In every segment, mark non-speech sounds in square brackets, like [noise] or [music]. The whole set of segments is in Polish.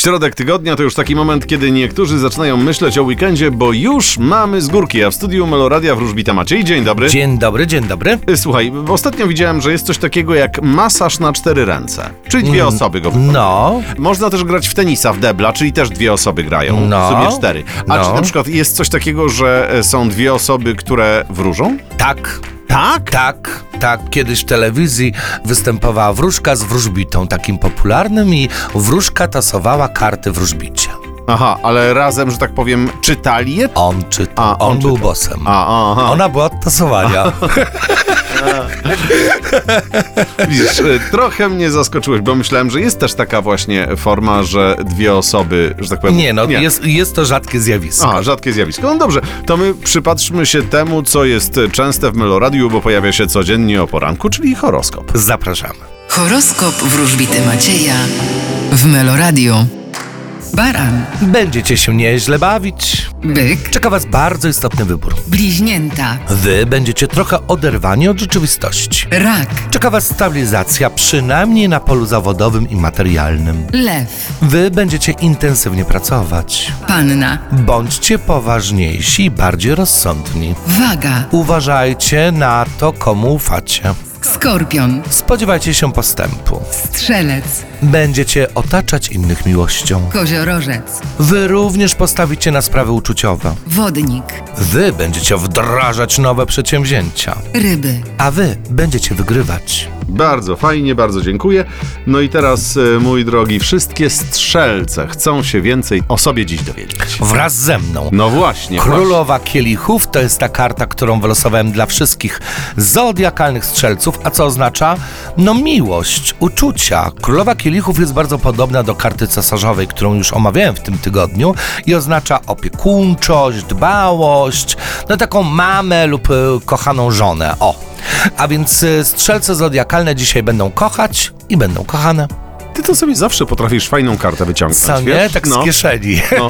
Środek tygodnia to już taki moment, kiedy niektórzy zaczynają myśleć o weekendzie, bo już mamy z górki, a w studiu Meloradia wróżbita Maciej. Dzień dobry. Dzień dobry, dzień dobry. Y, Słuchaj, ostatnio widziałem, że jest coś takiego jak masaż na cztery ręce. Czyli dwie Mm. osoby go No, Można też grać w tenisa, w debla, czyli też dwie osoby grają. No. W sumie cztery. A No. czy na przykład jest coś takiego, że e, są dwie osoby, które wróżą? tak, Tak? tak, tak. Kiedyś w telewizji występowała wróżka z wróżbitą, takim popularnym i wróżka tasowała karty wróżbicia. Aha, ale razem, że tak powiem, czytali je? On czytał, A, on, on był bosem. A, aha. Ona była od [laughs] tasowania. Widzisz, e, trochę mnie zaskoczyłeś, bo myślałem, że jest też taka właśnie forma, że dwie osoby, że tak powiem... Nie no, Jest, jest to rzadkie zjawisko. Aha, rzadkie zjawisko. No dobrze, to my przypatrzmy się temu, co jest częste w Meloradiu, bo pojawia się codziennie o poranku, czyli horoskop. Zapraszamy. Horoskop wróżbity Macieja w Meloradio. Baran, Będziecie się nieźle bawić. byk, Czeka Was bardzo istotny wybór. bliźnięta, Wy będziecie trochę oderwani od rzeczywistości. rak, Czeka Was stabilizacja, przynajmniej na polu zawodowym i materialnym. lew, Wy będziecie intensywnie pracować. panna, Bądźcie poważniejsi i bardziej rozsądni. waga, Uważajcie na to, komu ufacie. skorpion, Spodziewajcie się postępu. strzelec, Będziecie otaczać innych miłością. koziorożec, Wy również postawicie na sprawy uczuciowe. wodnik, Wy będziecie wdrażać nowe przedsięwzięcia. ryby. A wy będziecie wygrywać. Bardzo fajnie, bardzo dziękuję. No i teraz, e, mój drogi, wszystkie strzelce chcą się więcej o sobie dziś dowiedzieć. Wraz ze mną. No właśnie. właśnie. Królowa Kielichów to jest ta karta, którą wylosowałem dla wszystkich zodiakalnych strzelców, a co oznacza? No miłość, uczucia. Królowa Kielichów jest bardzo podobna do karty cesarzowej, którą już omawiałem w tym tygodniu i oznacza opiekuńczość, dbałość, no taką mamę lub e, kochaną żonę. O, a więc e, strzelce zodiakalne dzisiaj będą kochać i będą kochane. Ty to sobie zawsze potrafisz fajną kartę wyciągnąć, Co nie? wiesz? Tak no. z kieszeni. No.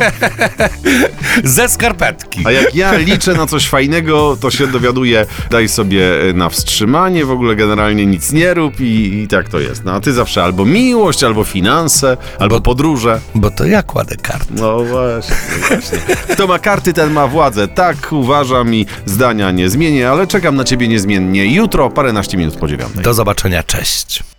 [laughs] Ze skarpetki. A jak ja liczę na coś fajnego, to się dowiaduję, daj sobie e, na wstrzymanie, w ogóle generalnie nic nie rób i, i tak to jest. No a ty zawsze albo miłość, albo finanse, albo podróże. Bo to ja kładę kartę. No właśnie, [laughs] właśnie. Kto ma karty, ten ma władzę. Tak uważam i zdania nie zmienię, ale czekam na ciebie niezmiennie. Jutro paręnaście minut po dziewiątej. Do zobaczenia, cześć.